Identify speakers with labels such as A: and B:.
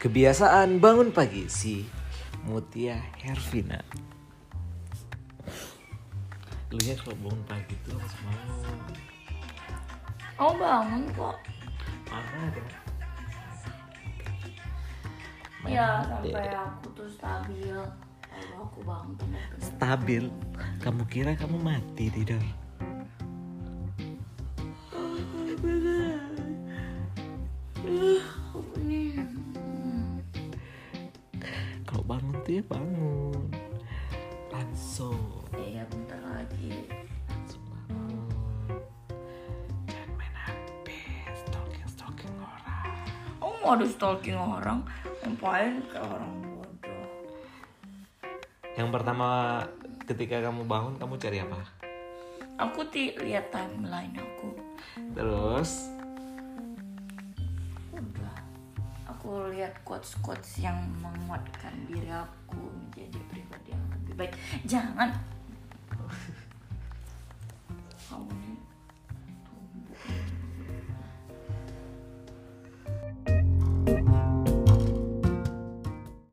A: Kebiasaan bangun pagi si Mutia Hervina. Lu nya kalau bangun pagi tuh harus mau
B: Kamu bangun kok.
A: marah dong. Main
B: Ya
A: HP.
B: sampai aku tuh stabil. Baru aku bangun bener-bener.
A: Stabil. Kamu kira kamu mati tidak?
B: Aku ini hmm,
A: Kalau bangun tuh ya bangun. Langsung.
B: Iya bentar lagi.
A: langsung bangun. Jangan main HP, stalking stalking orang.
B: Kamu mau ada stalking orang? Ngapain ke orang bodoh?
A: Yang pertama ketika kamu bangun kamu cari apa?
B: Aku ti lihat timeline aku.
A: Terus
B: Udah. Aku lihat quotes-quotes yang menguatkan diri aku menjadi pribadi yang lebih baik. Jangan